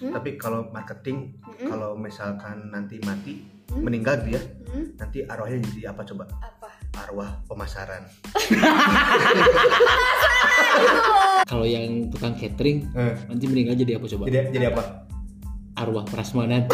Hmm? Tapi kalau marketing, Mm-mm. kalau misalkan nanti mati, Hmm? meninggal gitu ya, Hmm? nanti arwahnya jadi apa coba? Apa? Arwah pemasaran. Kalau yang tukang catering Eh, nanti meninggal jadi apa coba? jadi jadi apa? Arwah prasmanan.